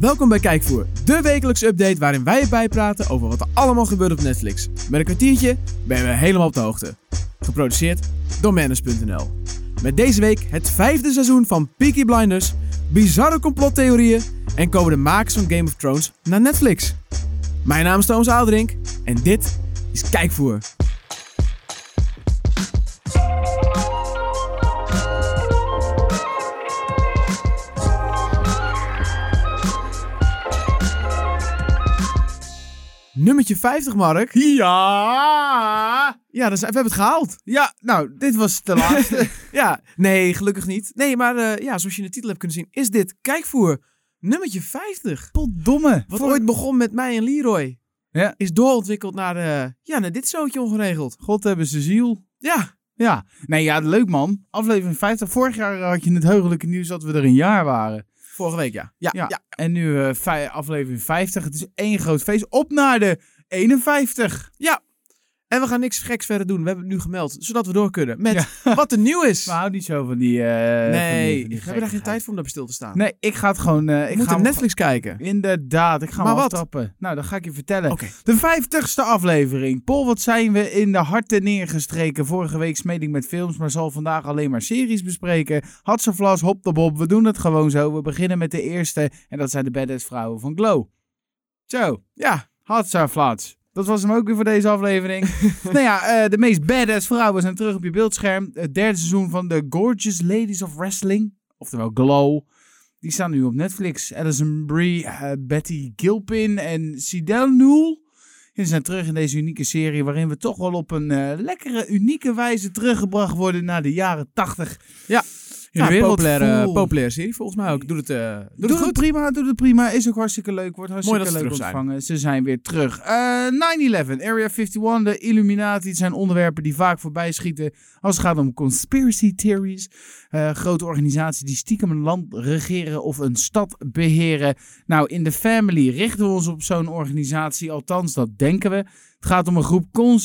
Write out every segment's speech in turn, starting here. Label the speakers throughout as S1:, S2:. S1: Welkom bij Kijkvoer, de wekelijkse update waarin wij je bijpraten over wat er allemaal gebeurt op Netflix. Met een kwartiertje ben je weer helemaal op de hoogte. Geproduceerd door Manus.nl. Met deze week het vijfde seizoen van Peaky Blinders, bizarre complottheorieën en komen de makers van Game of Thrones naar Netflix. Mijn naam is Thomas Aaldrink en dit is Kijkvoer. Nummertje 50, Mark.
S2: Ja!
S1: Ja, dus, we hebben het gehaald.
S2: Ja, nou, dit was de laatste.
S1: Ja, nee, gelukkig niet. Nee, maar eh, ja, zoals je in de titel hebt kunnen zien, is dit Kijkvoer nummertje 50.
S2: Potdomme.
S1: Wat
S2: Voor-
S1: ooit begon met mij en Leroy.
S2: Ja.
S1: Is doorontwikkeld naar, eh, ja, naar dit zootje ongeregeld.
S2: God hebben ze ziel.
S1: Ja,
S2: Ja. Nee, ja, leuk man. Aflevering 50. Vorig jaar had je het heugelijke nieuws dat we er een jaar waren.
S1: vorige week ja. Ja, ja.
S2: Ja. En nu eh, vij- aflevering 50. Het is één groot feest. Op naar de 51.
S1: En we gaan niks geks verder doen. We hebben het nu gemeld, zodat we door kunnen met wat er nieuw is.
S2: We houden niet zo van die... eh, van die- van
S1: nee, we hebben
S2: die
S1: daar geen
S2: gekkigheid.
S1: tijd voor om daar stil te staan.
S2: Nee, ik ga het gewoon... eh,
S1: We
S2: ik ga
S1: moeten
S2: hem
S1: Netflix kijken.
S2: gewoon- Inderdaad, ik ga
S1: Maar
S2: hem
S1: wat?
S2: aftrappen. Nou, dan ga ik je vertellen.
S1: Oké.
S2: De vijftigste aflevering. Paul, wat zijn we in de harten neergestreken. Vorige week smeed ik met films, maar zal vandaag alleen maar series bespreken. Hatsaflas, hop de bob, we doen het gewoon zo. We beginnen met de eerste en dat zijn de badass vrouwen van Glow. Zo,
S1: Ja,
S2: Hatsaflas. Dat was hem ook weer voor deze aflevering. nou ja, eh, de meest badass vrouwen zijn terug op je beeldscherm. Het derde seizoen van The Gorgeous Ladies of Wrestling, oftewel Glow. Die staan nu op Netflix. Alison Brie, eh, Betty Gilpin en Sidel Newell. En ze zijn terug in deze unieke serie waarin we toch wel op een eh, lekkere, unieke wijze teruggebracht worden naar de jaren 80.
S1: Ja.
S2: in de
S1: ja,
S2: wereld
S1: populaire,
S2: vol-
S1: populaire serie volgens mij ook. Doet het, eh doet
S2: Doe,
S1: het
S2: het
S1: goed.
S2: prima, doe het prima. Is ook hartstikke leuk. Wordt hartstikke
S1: dat ze
S2: leuk
S1: terug zijn.
S2: ontvangen. Ze zijn weer terug. Eh 9-11, Area 51, de Illuminati. Het zijn onderwerpen die vaak voorbij schieten als het gaat om conspiracy theories. Eh, grote organisaties die stiekem een land regeren of een stad beheren. Nou, in de family richten we ons op zo'n organisatie. Althans, dat denken we. Het gaat om een groep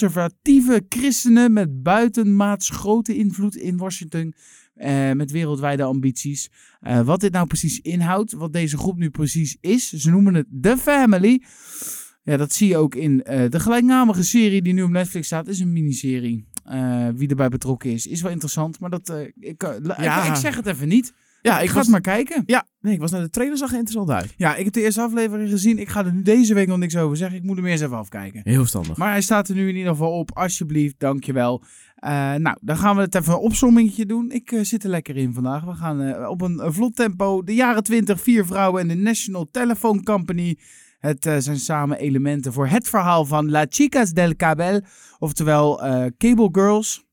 S2: conservatieve christenen met buitenmaats grote invloed in Washington. eh, met wereldwijde ambities. Eh, wat dit nou precies inhoudt, wat deze groep nu precies is. Ze noemen het The Family. Ja, dat zie je ook in eh, de gelijknamige serie die nu op Netflix staat. is een miniserie. Eh, wie erbij betrokken is, is wel interessant. Maar dat, eh, ik, eh, la-
S1: Ja.
S2: ik, ik zeg het even niet.
S1: Ja,
S2: ik
S1: ik
S2: ga
S1: was,
S2: het maar kijken.
S1: ja, nee, ik was naar de trailer, zag er interessant uit.
S2: Ja, ik heb de eerste aflevering gezien. Ik ga er nu deze week nog niks over zeggen. Ik moet hem eerst even afkijken.
S1: Heel verstandig.
S2: Maar hij staat er nu in ieder geval op. Alsjeblieft, dankjewel. Eh nou, dan gaan we het even een opsommingetje doen. Ik eh, zit er lekker in vandaag. We gaan eh, op een eh, vlot tempo. De jaren 20, vier vrouwen en de National Telephone Company. Het eh, zijn samen elementen voor het verhaal van La Chicas del Cabel. Oftewel eh, Cable Girls.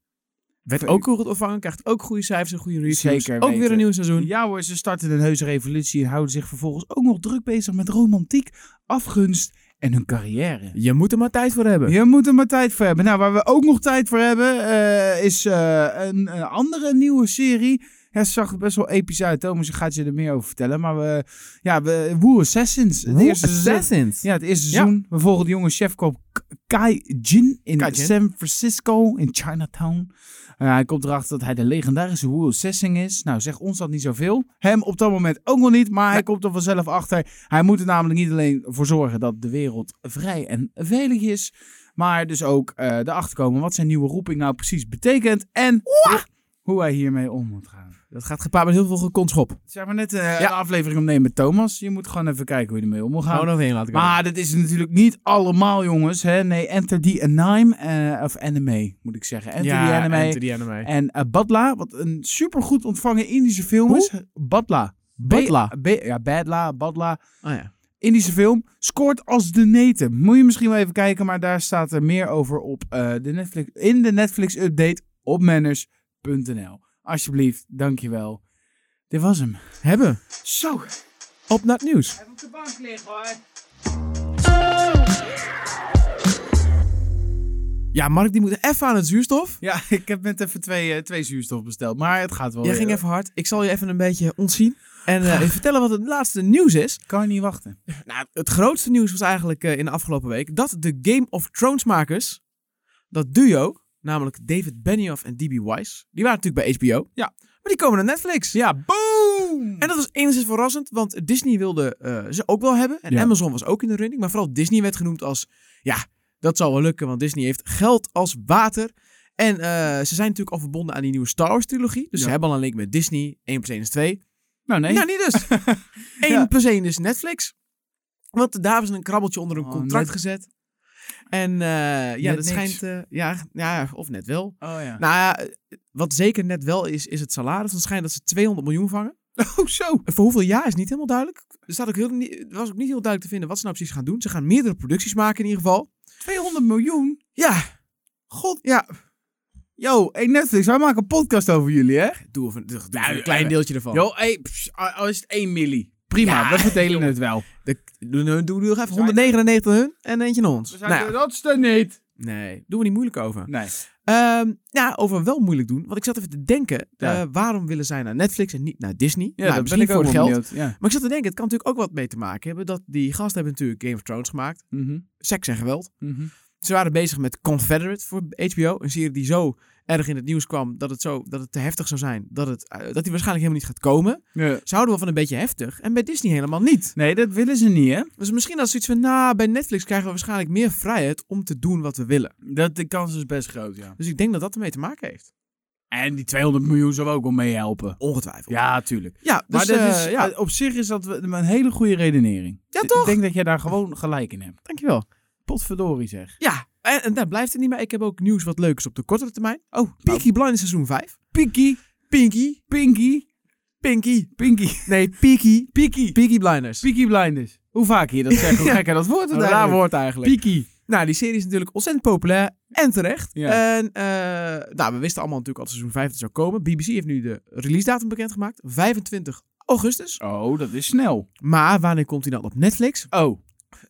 S1: Werd ook goed ontvangen, krijgt ook goede cijfers en goede reviews.
S2: Zeker
S1: Ook weer
S2: weten.
S1: een nieuw seizoen.
S2: Ja hoor, ze starten een heuse revolutie en houden zich vervolgens ook nog druk bezig met romantiek, afgunst en hun carrière.
S1: Je moet er maar tijd voor hebben.
S2: Je moet er maar tijd voor hebben. Nou, waar we ook nog tijd voor hebben, eh, is eh, een, eh, andere nieuwe serie. Ja, ze zag er best wel episch uit. Thomas gaat je er meer over vertellen. Maar we, ja, we, Woo Assassins. Het
S1: Who
S2: eerste seizoen-
S1: Assassins.
S2: ja, het eerste
S1: Ja.
S2: seizoen. We volgen de jonge chefkok K- Kai Jin in
S1: Kai Jin.
S2: San Francisco, in Chinatown. Eh, hij komt erachter dat hij de legendarische Wu Sessing is. Nou, zeg ons dat niet zoveel. Hem op dat moment ook nog niet, maar hij komt er vanzelf achter. Hij moet er namelijk niet alleen voor zorgen dat de wereld vrij en veilig is, maar dus ook eh erachter komen wat zijn nieuwe roeping nou precies betekent en hoe- hoe hij hiermee om moet gaan.
S1: Dat gaat gepaard met heel veel gekontschop.
S2: Zeg maar net eh, een
S1: Ja. Oh,
S2: aflevering omnemen met Thomas. Je moet gewoon even kijken hoe je ermee om moet gaan.
S1: Gaan we nog heen laten komen.
S2: Maar dat is natuurlijk niet allemaal, jongens. Hè? Nee, Enter the Anime, eh, of anime moet ik zeggen. Enter the Anime.
S1: Enter the Anime.
S2: En eh, Badla, wat een supergoed ontvangen Indische film
S1: Hoe?
S2: is. Badla.
S1: Badla?
S2: B- B- ja, Badla, Badla.
S1: Oh ja.
S2: Indische film. Scoort als de neten. Moet je misschien wel even kijken, maar daar staat er meer over op, eh, de Netflix, in de Netflix-update op manners.nl. Alsjeblieft, dankjewel. Dit was hem.
S1: Hebben.
S2: Zo,
S1: Op naar het nieuws.
S2: even op de bank liggen hoor.
S1: Ja, Mark die moet even aan het zuurstof.
S2: Ja, ik heb net even twee, eh, twee zuurstof besteld, maar het gaat wel.
S1: Jij
S2: weer.
S1: ging even hard. Ik zal je even een beetje ontzien. En eh, even vertellen wat het laatste nieuws is.
S2: Kan niet wachten.
S1: Nou, het grootste nieuws was eigenlijk eh, in de afgelopen week dat de Game of Thrones makers, dat duo, namelijk David Benioff en D.B. Weiss, die waren natuurlijk bij HBO.
S2: Ja.
S1: die komen naar Netflix.
S2: Ja, boom!
S1: En dat was enigszins verrassend, want Disney wilde eh, ze ook wel hebben. En
S2: Ja.
S1: Amazon was ook in de running. Maar vooral Disney werd genoemd als, ja, dat zal wel lukken, want Disney heeft geld als water. En eh, ze zijn natuurlijk al verbonden aan die nieuwe Star Wars trilogie. Dus
S2: Ja.
S1: ze hebben al een link met Disney. 1 plus 1 is 2.
S2: nou nee.
S1: Nou, niet dus. 1
S2: Ja.
S1: plus 1 is Netflix. Want daar was een krabbeltje onder een
S2: Oh,
S1: contract
S2: net-
S1: gezet. En eh, ja,
S2: Net
S1: dat
S2: niks.
S1: schijnt... eh, ja, ja, of net wel.
S2: Oh ja.
S1: Nou ja, wat zeker net wel is, is het salaris. Dan schijnt dat ze 200 miljoen vangen.
S2: oh zo.
S1: En voor hoeveel jaar is niet helemaal duidelijk. Er staat ook heel, niet- was ook niet heel duidelijk te vinden wat ze nou precies gaan doen. Ze gaan meerdere producties maken in ieder geval.
S2: 200 miljoen?
S1: Ja,
S2: God.
S1: ja.
S2: Yo, hey Netflix, wij maken een podcast over jullie, hè?
S1: Doe even, doe even
S2: Ja,
S1: een klein
S2: eh,
S1: deeltje ervan.
S2: Yo, hey, pss, al al is het 1 milli. Prima,
S1: Ja,
S2: we verdelen het wel.
S1: De- doe, doe, doe nog even 199 aan hun en eentje naar ons. Nou ja,
S2: dat is er niet.
S1: nee, doen we niet moeilijk over.
S2: Nee.
S1: Ehm, ja, over wel moeilijk doen. Want ik zat even te denken,
S2: Ja.
S1: eh, waarom willen zij naar Netflix en niet naar Disney?
S2: Ja,
S1: nou,
S2: dat ben
S1: misschien
S2: ik ook
S1: voor het
S2: wel
S1: geld.
S2: benieuwd. Ja.
S1: Maar ik zat te denken, het kan natuurlijk ook wat mee te maken hebben dat die gasten hebben natuurlijk Game of Thrones gemaakt.
S2: Mhm,
S1: Seks en geweld.
S2: mhm.
S1: Ze waren bezig met Confederate voor HBO. Een serie die zo erg in het nieuws kwam dat het, zo, dat het te heftig zou zijn. Dat, het, eh, dat die waarschijnlijk helemaal niet gaat komen.
S2: Ja.
S1: Ze houden wel van een beetje heftig. En bij Disney helemaal niet.
S2: Nee, dat willen ze niet, hè?
S1: Dus misschien als zoiets van, nou, bij Netflix krijgen we waarschijnlijk meer vrijheid om te doen wat we willen.
S2: Dat, de kans is best groot, ja.
S1: Dus ik denk dat dat ermee te maken heeft.
S2: En die 200 miljoen zou ook wel meehelpen.
S1: Ongetwijfeld.
S2: Ja, tuurlijk.
S1: ja dus,
S2: maar dat
S1: eh,
S2: is,
S1: ja.
S2: op zich is dat een hele goede redenering.
S1: Ja,
S2: Ik-
S1: toch?
S2: Ik denk dat jij daar gewoon gelijk in hebt.
S1: Dankjewel.
S2: Potverdorie zeg.
S1: Ja, en, en daar blijft het niet bij. Ik heb ook nieuws wat leuk is op de kortere termijn. Oh,
S2: Nou.
S1: Peaky Blinders seizoen 5.
S2: Pinky,
S1: Pinky,
S2: Pinky,
S1: Pinky.
S2: Pinky.
S1: Nee, Peaky.
S2: Peaky.
S1: Peaky Blinders.
S2: Peaky Blinders. Hoe vaak je dat zegt, hoe gekker dat
S1: Wat
S2: woord het
S1: een raar
S2: eigenlijk.
S1: woord eigenlijk.
S2: Peaky.
S1: Nou, die serie is natuurlijk ontzettend populair en terecht.
S2: Ja.
S1: En eh, nou, we wisten allemaal natuurlijk al dat seizoen 5 er zou komen. BBC heeft nu de release datum bekendgemaakt. 25 augustus.
S2: Oh, dat is snel.
S1: Maar wanneer komt hij dan op Netflix?
S2: Oh.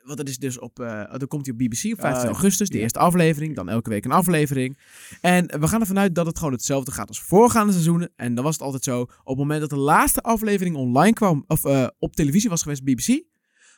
S1: Want dat is dus op, eh, dan komt hij op BBC op 15
S2: Ah, ja.
S1: augustus, de
S2: Ja.
S1: eerste aflevering. Dan elke week een aflevering. En we gaan ervan uit dat het gewoon hetzelfde gaat als voorgaande seizoenen. En dan was het altijd zo, op het moment dat de laatste aflevering online kwam, of eh, op televisie was geweest, BBC,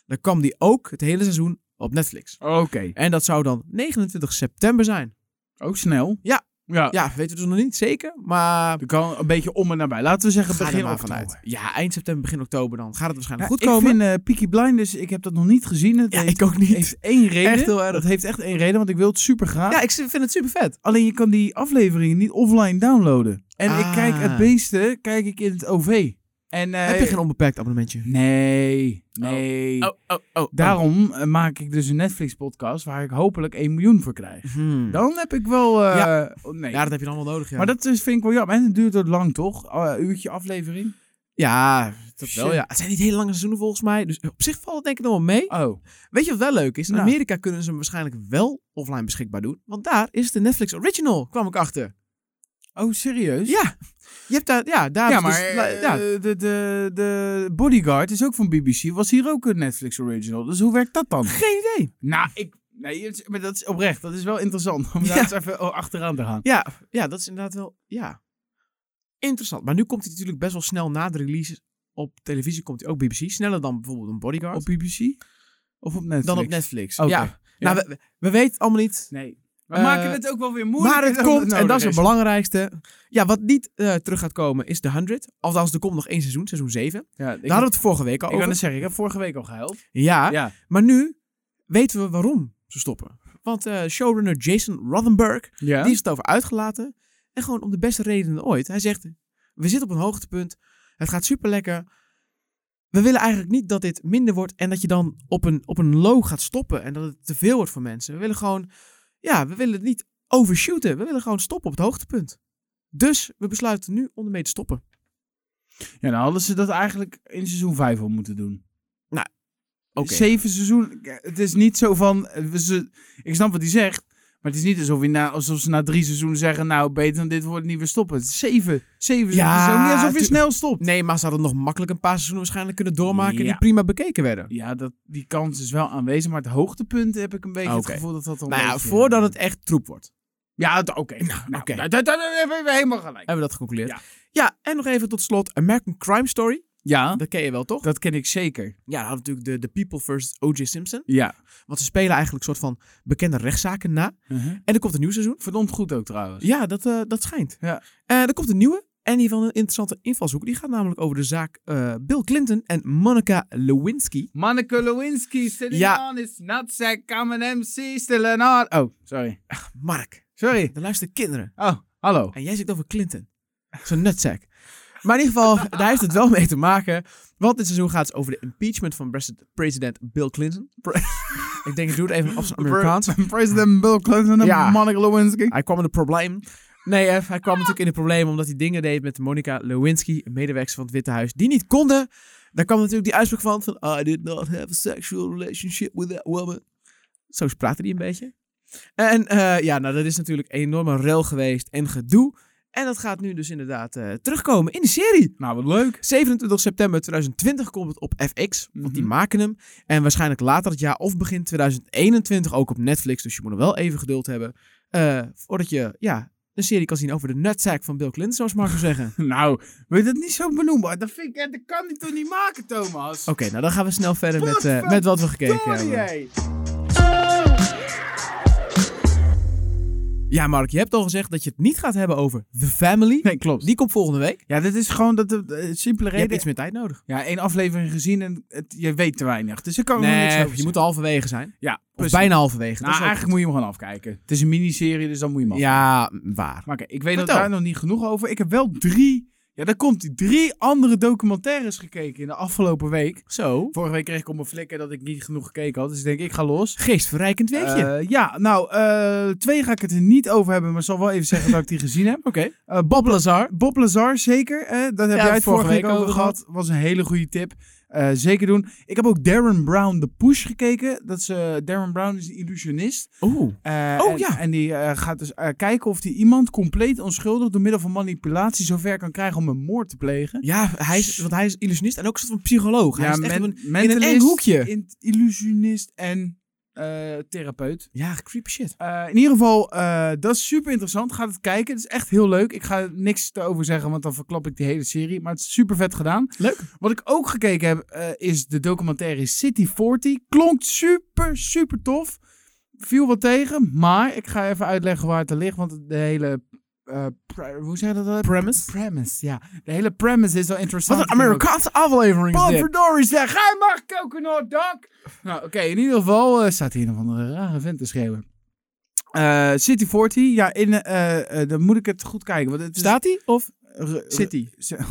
S1: dan kwam die ook het hele seizoen op Netflix.
S2: Oké.
S1: En dat zou dan 29 september zijn.
S2: Ook Oh, snel.
S1: Ja.
S2: Ja.
S1: Ja, weten we dus nog niet zeker, maar
S2: Er kan een beetje om en nabij. Laten we zeggen
S1: ga er
S2: begin
S1: maar
S2: oktober.
S1: vanuit. Ja, eind september, begin oktober dan gaat het
S2: Ja,
S1: waarschijnlijk goed
S2: Ik
S1: komen.
S2: vind eh Peaky Blinders, ik heb dat nog niet gezien. Het
S1: Ja,
S2: heeft,
S1: ik ook niet.
S2: heeft één reden.
S1: Echt heel erg.
S2: Dat heeft echt één reden, want ik wil het super graag.
S1: Ja, ik vind het super vet.
S2: Alleen je kan die afleveringen niet offline downloaden. En ik
S1: Ah.
S2: kijk het beesten kijk ik in het OV. En, eh,
S1: Heb je geen onbeperkt abonnementje?
S2: Nee, nee.
S1: oh, oh.
S2: Daarom eh, maak ik dus een Netflix-podcast waar ik hopelijk 1 miljoen voor krijg.
S1: Hmm.
S2: Dan heb ik wel... eh, oh, nee.
S1: Ja, dat heb je dan wel nodig. Ja.
S2: Maar dat is, vind ik wel jammer. En het duurt ook lang, toch? Oh, een uurtje aflevering.
S1: Ja, dat wel,
S2: Shit.
S1: ja. Het zijn niet hele lange seizoenen volgens mij. Dus op zich valt het denk ik nog wel mee.
S2: Oh,
S1: Weet je wat wel leuk is? In
S2: Nou.
S1: Amerika kunnen ze hem waarschijnlijk wel offline beschikbaar doen. Want daar is de Netflix Original, kwam ik achter.
S2: oh serieus?
S1: Ja, je hebt daar... Ja, daar
S2: Ja,
S1: is
S2: maar
S1: dus- la-
S2: eh,
S1: ja.
S2: de, de, de Bodyguard is ook van BBC. Was hier ook een Netflix original. Dus hoe werkt dat dan?
S1: Geen idee.
S2: Nou, ik... Nee, het is- maar dat is oprecht. Dat is wel interessant. Om
S1: Ja.
S2: daar eens even oh, achteraan te gaan.
S1: Ja, ja, dat is inderdaad wel... Ja. Interessant. Maar nu komt hij natuurlijk best wel snel na de release op televisie. Komt hij ook BBC. Sneller dan bijvoorbeeld een Bodyguard.
S2: Op BBC? Of op Netflix?
S1: dan op Netflix.
S2: Oké.
S1: Ja. Nou, we, we- we weten allemaal niet...
S2: Nee. We
S1: Eh,
S2: maken het ook wel weer moeilijk.
S1: Maar het komt, en dat is het
S2: belangrijk.
S1: belangrijkste. Ja, wat niet eh, terug gaat komen is de 100. Althans, er komt nog één seizoen, seizoen 7.
S2: Ja,
S1: Daar
S2: ik,
S1: hadden we het vorige week al
S2: ik kan
S1: over.
S2: het zeggen, ik heb vorige week al gehuild.
S1: Ja,
S2: Ja.
S1: maar nu weten we waarom ze stoppen. Want eh, showrunner Jason Rothenberg,
S2: ja.
S1: die is het over uitgelaten. En gewoon om de beste redenen ooit. Hij zegt, we zitten op een hoogtepunt. Het gaat super lekker. We willen eigenlijk niet dat dit minder wordt en dat je dan op een, op een low gaat stoppen. En dat het te veel wordt voor mensen. We willen gewoon, ja, we willen het niet overshooten. We willen gewoon stoppen op het hoogtepunt. Dus we besluiten nu om ermee te stoppen.
S2: ja, dan hadden ze dat eigenlijk in seizoen 5 al moeten doen. Dus
S1: Oké.
S2: Zeven seizoen, het is niet zo van, eh, we ze, ik snap wat hij zegt, maar het is niet alsof, hij na, alsof ze na drie seizoenen zeggen, nou beter dan dit wordt niet, we stoppen. Het is zeven, zeven
S1: Ja,
S2: seizoenen, Het is niet alsof je
S1: tu-
S2: snel stopt.
S1: Nee, maar ze hadden nog makkelijk een paar seizoenen waarschijnlijk kunnen doormaken die
S2: Ja.
S1: prima bekeken werden.
S2: Ja, dat, die kans is wel aanwezig, maar het hoogtepunt heb ik een beetje
S1: Oké.
S2: het gevoel dat dat al
S1: Nou
S2: een
S1: ja,
S2: beetje-
S1: voordat het echt troep wordt.
S2: Ja, d- oké. Nou, nou,
S1: oké.
S2: dat- dat- dat- dat hebben we helemaal gelijk.
S1: Hebben we dat geconcludeerd?
S2: Ja.
S1: ja, en nog even tot slot American Crime Story.
S2: Oh. Ja,
S1: Dat ken je wel, toch?
S2: dat ken ik zeker.
S1: Ja, dan hadden we natuurlijk de, de People versus O.J. Simpson.
S2: Ja.
S1: Want ze spelen eigenlijk een soort van bekende rechtszaken na. En er komt een nieuw seizoen.
S2: Mhm. Verdomd goed ook trouwens.
S1: Ja, dat, eh, dat schijnt.
S2: Ja.
S1: Eh, er komt een nieuwe. En die van een interessante invalshoek. Die gaat namelijk over de zaak eh, Bill Clinton en Monica Lewinsky.
S2: Monica Lewinsky sitting
S1: Ja.
S2: on his nutsack, I'm an MC, still an art. Oh, sorry.
S1: Mark,
S2: Sorry.
S1: daar luisteren kinderen.
S2: Oh, hallo.
S1: En jij zit over Clinton. Zo'n nutsack. Maar in ieder geval, daar heeft het wel mee te maken. Want dit seizoen gaat het over de impeachment van pres- president Bill Clinton. Pre- ik denk, ik doe het even op zijn Amerikaans.
S2: President Bill Clinton en
S1: Ja.
S2: Monica Lewinsky.
S1: Hij kwam in het probleem. Nee, eh, hij kwam natuurlijk in het probleem omdat hij dingen deed met Monica Lewinsky, een medewerker van het Witte Huis, die niet konden. Daar kwam natuurlijk die uitspraak van, van I did not have a sexual relationship with that woman. Zo praatte hij een beetje. En eh, ja, nou dat is natuurlijk een enorme rel geweest en gedoe. En dat gaat nu dus inderdaad eh, terugkomen in de serie.
S2: Nou, wat leuk.
S1: 27 september 2020 komt het op FX, want die
S2: Mhm.
S1: maken hem. En waarschijnlijk later het jaar of begin 2021 ook op Netflix. Dus je moet nog wel even geduld hebben. eh, voordat je ja, een serie kan zien over de nutsack van Bill Clinton, zoals Marco zeggen.
S2: Nou, wil je dat niet zo benoemen? Dat, vind ik, eh, dat kan hij toch niet maken, Thomas?
S1: Oké, nou dan gaan we snel verder met, eh,
S2: Godverdorie.
S1: met wat we gekeken hebben.
S2: Sorry,
S1: Ja, Mark, je hebt al gezegd dat je het niet gaat hebben over The Family.
S2: Nee, klopt.
S1: Die komt volgende week.
S2: Ja, dit is gewoon dat, eh, simpele
S1: Je hebt
S2: reden.
S1: iets meer tijd nodig.
S2: Ja, één aflevering gezien en het, je weet te weinig. Dus ik kan er niks
S1: Nee,
S2: over
S1: je
S2: zeggen.
S1: moet halverwege zijn.
S2: Ja,
S1: Of
S2: precies.
S1: bijna halverwege.
S2: Nou, eigenlijk moet je hem gewoon afkijken. Het is een miniserie, dus dan moet je hem
S1: Ja, waar.
S2: Maar oké, ik weet nog
S1: Vertel.
S2: daar nog niet genoeg over. Ik heb wel drie, ja daar komt die, drie andere documentaires gekeken in de afgelopen week.
S1: Zo.
S2: Vorige week kreeg ik op mijn flikker dat ik niet genoeg gekeken had. Dus ik denk, ik ga los.
S1: Geestverrijkend weetje.
S2: Eh, ja, nou, eh, twee ga ik het er niet over hebben, maar ik zal wel even zeggen dat ik die gezien heb.
S1: Oké.
S2: Eh, Bob Lazar. Bob Lazar, zeker. Eh, dat heb
S1: Ja,
S2: jij het vorige week over
S1: gehad.
S2: gehad. Was een hele goede tip. Eh, zeker doen. Ik heb ook Darren Brown The Push gekeken. Dat is, eh, Darren Brown is een illusionist.
S1: Oeh.
S2: Eh,
S1: Oh,
S2: en,
S1: ja.
S2: En die eh, gaat dus eh, kijken of hij iemand compleet onschuldig door middel van manipulatie zover kan krijgen om een moord te plegen.
S1: Ja, hij is, want hij is illusionist en ook een soort van psycholoog. Hij is echt
S2: men-
S1: op een, in een
S2: mentalist,
S1: eng hoekje.
S2: in- illusionist en eh, therapeut.
S1: Ja, creepy shit.
S2: Eh, in ieder geval, eh, dat is super interessant. Ga het kijken. Het is echt heel leuk. Ik ga niks erover zeggen, want dan verklap ik die hele serie. Maar het is super vet gedaan.
S1: Leuk.
S2: Wat ik ook gekeken heb, eh, is de documentaire City 40. Klonk super, super tof. Viel wat tegen, maar ik ga even uitleggen waar het aan ligt. Want de hele. eh, pre- hoe zeg je dat?
S1: Premise.
S2: premise, ja. De hele premise is wel interessant.
S1: Wat een Amerikaanse aflevering is dit.
S2: Potverdorie zeg, hij mag coconut dog. Nou, oké, in ieder geval eh, staat hier nog een rare vent te schreeuwen. Eh, City 40, ja, in, eh, eh, dan moet ik het goed kijken. Want het is-
S1: Staat hij of
S2: R-
S1: zit hij?
S2: r-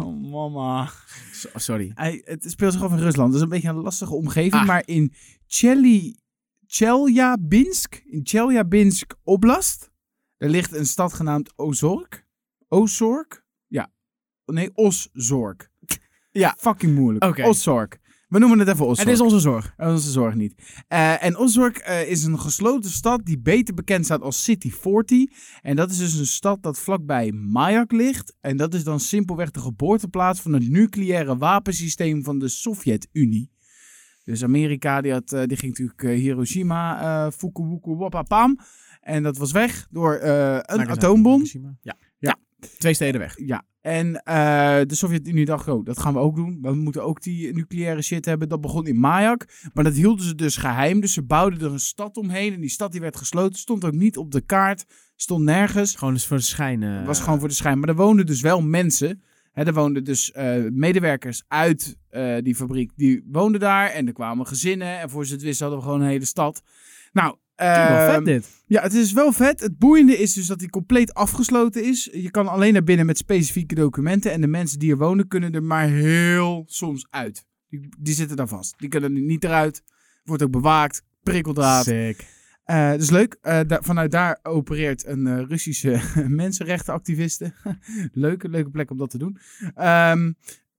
S2: Oh, mama.
S1: oh, Sorry.
S2: Hij, het speelt zich af in Rusland. Dat is een beetje een lastige omgeving.
S1: Ah.
S2: Maar in Chely, Chelyabinsk, in Chelyabinsk Oblast, er ligt een stad genaamd Ozork. Ozork? Ja. Nee, Oszork.
S1: Ja.
S2: Fucking moeilijk.
S1: Oké.
S2: Oszork. We noemen het even Oszork.
S1: Het is onze zorg.
S2: Eh, Onze zorg niet. Eh, en Ozork eh, is een gesloten stad die beter bekend staat als City 40. En dat is dus een stad dat vlakbij Mayak ligt. En dat is dan simpelweg de geboorteplaats van het nucleaire wapensysteem van de Sovjet-Unie. Dus Amerika die had, eh, die ging natuurlijk eh, Hiroshima, eh Fukuoka, wapapam. En dat was weg door eh,
S1: nou
S2: een atoombom.
S1: Ja.
S2: Ja.
S1: Twee steden weg.
S2: Ja, en eh, de Sovjet-Unie dacht, oh, dat gaan we ook doen. We moeten ook die nucleaire shit hebben. Dat begon in Mayak, maar dat hielden ze dus geheim. Dus ze bouwden er een stad omheen en die stad die werd gesloten. Stond ook niet op de kaart, stond nergens.
S1: Gewoon eens voor de schijn. eh,
S2: Het was gewoon voor de schijn. Maar er woonden dus wel mensen. Hè, er woonden dus eh, medewerkers uit eh, die fabriek. Die woonden daar en er kwamen gezinnen. En voor ze het wisten hadden we gewoon een hele stad. Nou,
S1: Toen wel
S2: ehm,
S1: vet dit.
S2: ja, het is wel vet. Het boeiende is dus dat hij compleet afgesloten is. Je kan alleen naar binnen met specifieke documenten. En de mensen die er wonen kunnen er maar heel soms uit. Die, die zitten daar vast. Die kunnen er niet eruit. Wordt ook bewaakt. Prikkeldraad.
S1: Sick.
S2: Eh dus leuk. Eh, da- vanuit daar opereert een eh, Russische mensenrechtenactiviste. leuke, leuke plek om dat te doen. Ehm,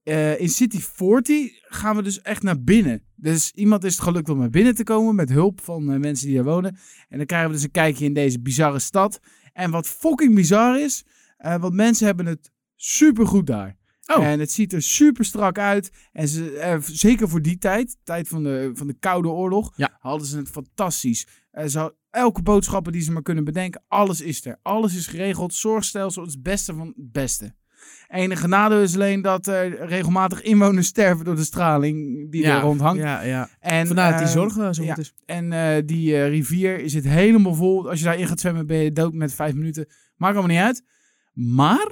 S2: eh, in City 40 gaan we dus echt naar binnen. Dus iemand is het gelukt om naar binnen te komen met hulp van eh, mensen die daar wonen. En dan krijgen we dus een kijkje in deze bizarre stad. En wat fucking bizar is, eh, want mensen hebben het supergoed daar.
S1: Oh.
S2: En het ziet er super strak uit. En ze, eh, zeker voor die tijd, tijd van de, van de Koude Oorlog,
S1: Ja.
S2: hadden ze het fantastisch. Eh, ze had- elke boodschappen die ze maar kunnen bedenken, alles is er. Alles is geregeld. Zorgstelsel, het is het beste van het beste. Enige nadeel is alleen dat er regelmatig inwoners sterven door de straling die er rondhangt.
S1: Ja, ja.
S2: En,
S1: Vandaar dat die
S2: eh,
S1: zorg eh, zo
S2: ja.
S1: goed is.
S2: En eh, die eh, rivier zit helemaal vol. Als je daarin gaat zwemmen ben je dood met vijf minuten. Maakt allemaal niet uit. Maar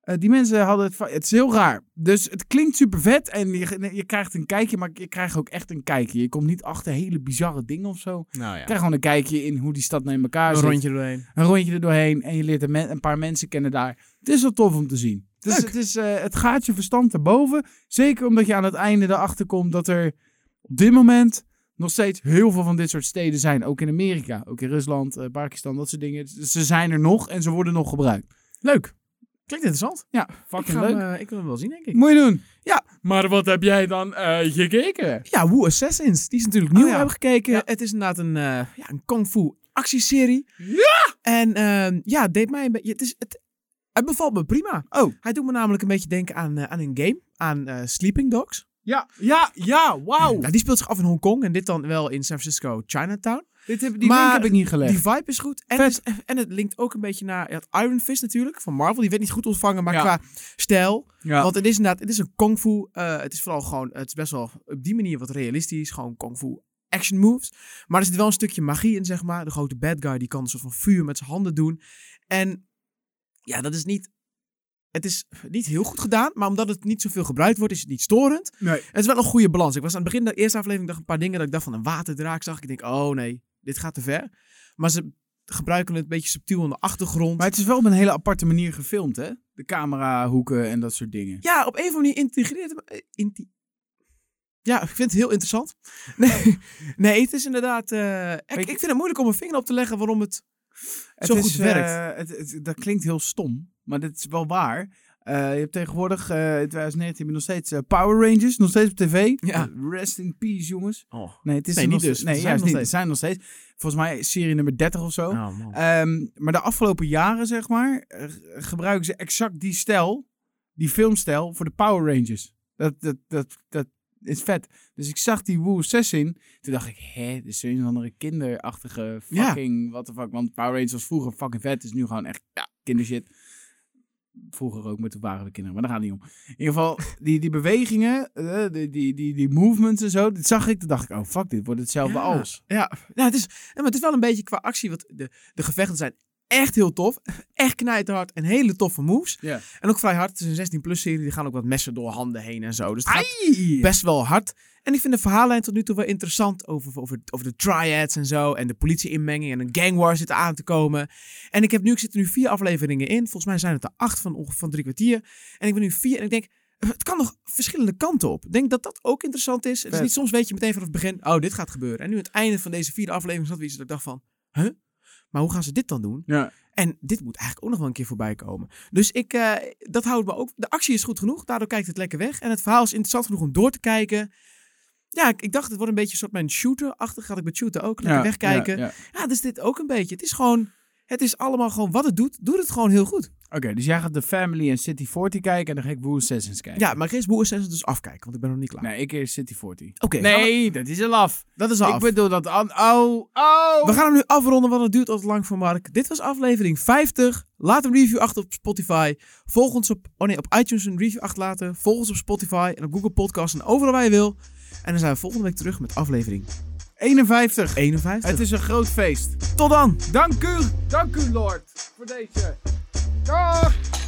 S2: eh, die mensen hadden het... va- Het is heel raar. Dus het klinkt super vet en je, je krijgt een kijkje, maar je krijgt ook echt een kijkje. Je komt niet achter hele bizarre dingen of zo.
S1: Nou ja.
S2: Je krijgt gewoon een kijkje in hoe die stad nou in elkaar
S1: Een
S2: zit.
S1: rondje doorheen.
S2: Een rondje er doorheen en je leert een, men- een paar mensen kennen daar. Het is wel tof om te zien. Dus
S1: Leuk.
S2: het, is, eh, het gaat je verstand erboven. Zeker omdat je aan het einde erachter komt dat er op dit moment nog steeds heel veel van dit soort steden zijn. Ook in Amerika, ook in Rusland, eh, Pakistan, dat soort dingen. Dus Ze zijn er nog en ze worden nog gebruikt.
S1: Leuk. Klinkt interessant.
S2: Ja,
S1: Ik,
S2: fucking
S1: ga
S2: leuk.
S1: hem, eh, ik wil hem wel zien, denk ik.
S2: Moet je doen.
S1: Ja.
S2: Maar wat heb jij dan eh, gekeken?
S1: Ja, Wu Assassins. Die is natuurlijk nieuw.
S2: Oh ja.
S1: We hebben gekeken.
S2: Ja.
S1: Het is inderdaad een, eh ja, een kung fu actieserie.
S2: Ja!
S1: En ehm, ja, het deed mij een beetje... Het, is, het, het bevalt me prima.
S2: Oh.
S1: Hij doet me namelijk een beetje denken aan, eh, aan een game. Aan eh, Sleeping Dogs.
S2: Ja, ja, ja, wauw.
S1: Nou, die speelt zich af in Hongkong. En dit dan wel in San Francisco, Chinatown.
S2: Dit heb, die
S1: Maar
S2: link heb ik niet gelegd.
S1: Die vibe is goed. En het, en het linkt ook een beetje naar ja, het Iron Fist natuurlijk. Van Marvel. Die werd niet goed ontvangen. Maar
S2: Ja.
S1: qua stijl
S2: ja.
S1: Want het is inderdaad, het is een kung fu. eh, het is vooral gewoon, het is best wel op die manier wat realistisch. Gewoon kung fu action moves. Maar er zit wel een stukje magie in, zeg maar. De grote bad guy die kan een soort van vuur met zijn handen doen. En ja, dat is niet. Het is niet heel goed gedaan, maar omdat het niet zoveel gebruikt wordt, is het niet storend.
S2: nee.
S1: Het is wel een goede balans. Ik was aan het begin de eerste aflevering dacht ik een paar dingen dat ik dacht van een waterdraak zag. Ik denk, oh nee, dit gaat te ver. Maar ze gebruiken het een beetje subtiel aan de achtergrond.
S2: Maar het is wel op een hele aparte manier gefilmd, hè? De camerahoeken en dat soort dingen.
S1: Ja, op een of andere manier integreert het me- eh, inti- Ja, ik vind het heel interessant. Nee, nee het is inderdaad... eh, ik, ik
S2: Weet je-
S1: vind het moeilijk om mijn vinger op te leggen waarom het...
S2: Het
S1: Zo
S2: is,
S1: goed
S2: eh,
S1: werkt.
S2: het, het- dat klinkt heel stom, maar dat is wel waar. Eh, je hebt tegenwoordig, eh, in 2019, heb je nog steeds eh, Power Rangers, nog steeds op tv.
S1: Ja.
S2: Rest in peace, jongens.
S1: Oh,
S2: Nee, het is
S1: Nee,
S2: er
S1: niet
S2: nog,
S1: dus.
S2: Nee,
S1: Ze zijn
S2: juist
S1: nog
S2: niet. Het zijn nog steeds. Volgens mij serie nummer 30 of zo.
S1: man.
S2: Ehm, maar de afgelopen jaren, zeg maar, eh, gebruiken ze exact die stijl, die filmstijl, voor de Power Rangers. Dat, dat, dat, dat is vet. Dus ik zag die Wu Assassin, toen dacht ik, hè, dit is een of andere kinderachtige
S1: Ja.
S2: fucking, what the fuck. Want Power Rangers was vroeger fucking vet, is nu gewoon echt ja, kindershit. Vroeger ook, maar toen waren we kinderen, maar daar gaat het niet om. In ieder geval, die, die bewegingen, eh, die, die, die, die movements en zo, dat zag ik. Toen dacht ik, oh fuck, dit wordt hetzelfde
S1: Ja.
S2: als.
S1: Ja, nou, het, is, ja, maar het is wel een beetje qua actie. Want de, de gevechten zijn echt heel tof. Echt knijterhard en hele toffe moves.
S2: Ja.
S1: En ook vrij hard. Het is een 16-plus serie. Die gaan ook wat messen door handen heen en zo. Dus het gaat best wel hard. En ik vind de verhaallijn tot nu toe wel interessant over, over, over de triads en zo. En de politie-inmenging en een gangwar zit aan te komen. En ik, heb nu, ik zit er nu vier afleveringen in. Volgens mij zijn het er acht van, ongeveer van drie kwartier. En ik ben nu vier en ik denk, het kan nog verschillende kanten op. Ik denk dat dat ook interessant is. Het is
S2: Vet.
S1: niet soms weet je meteen vanaf het begin, oh, dit gaat gebeuren. En nu aan het einde van deze vierde aflevering zat weer iets dat ik dacht van, huh? Maar hoe gaan ze dit dan doen?
S2: Ja.
S1: En dit moet eigenlijk ook nog wel een keer voorbij komen. Dus ik, eh, dat houdt me ook. De actie is goed genoeg, daardoor kijkt het lekker weg. En het verhaal is interessant genoeg om door te kijken. Ja, ik, ik dacht, het wordt een beetje een soort mijn shooter-achtig. Had ik met shooter ook lekker
S2: Ja,
S1: wegkijken.
S2: ja, ja.
S1: Ja, dus dit ook een beetje. Het is gewoon, het is allemaal gewoon wat het doet, doet het gewoon heel goed.
S2: Oké, dus jij gaat de Family en City 40 kijken en dan ga ik Woo Assassins kijken.
S1: Ja, maar Chris Boer is dus afkijken, want ik ben nog niet klaar.
S2: Nee, ik eerst City 40.
S1: Oké, gaan
S2: nee, dat is al af.
S1: we- dat is al
S2: Ik
S1: af.
S2: bedoel dat... An oh, oh.
S1: We gaan hem nu afronden, want het duurt al te lang voor Mark. Dit was aflevering 50. Laat een review achter op Spotify. Volg ons op, oh nee, op iTunes een review achterlaten. Volg ons op Spotify en op Google Podcasts en overal waar je wil. En dan zijn we volgende week terug met aflevering
S2: 51.
S1: 51.
S2: Het is een groot feest.
S1: Tot dan!
S2: Dank u, dank u Lord, voor deze. Dag.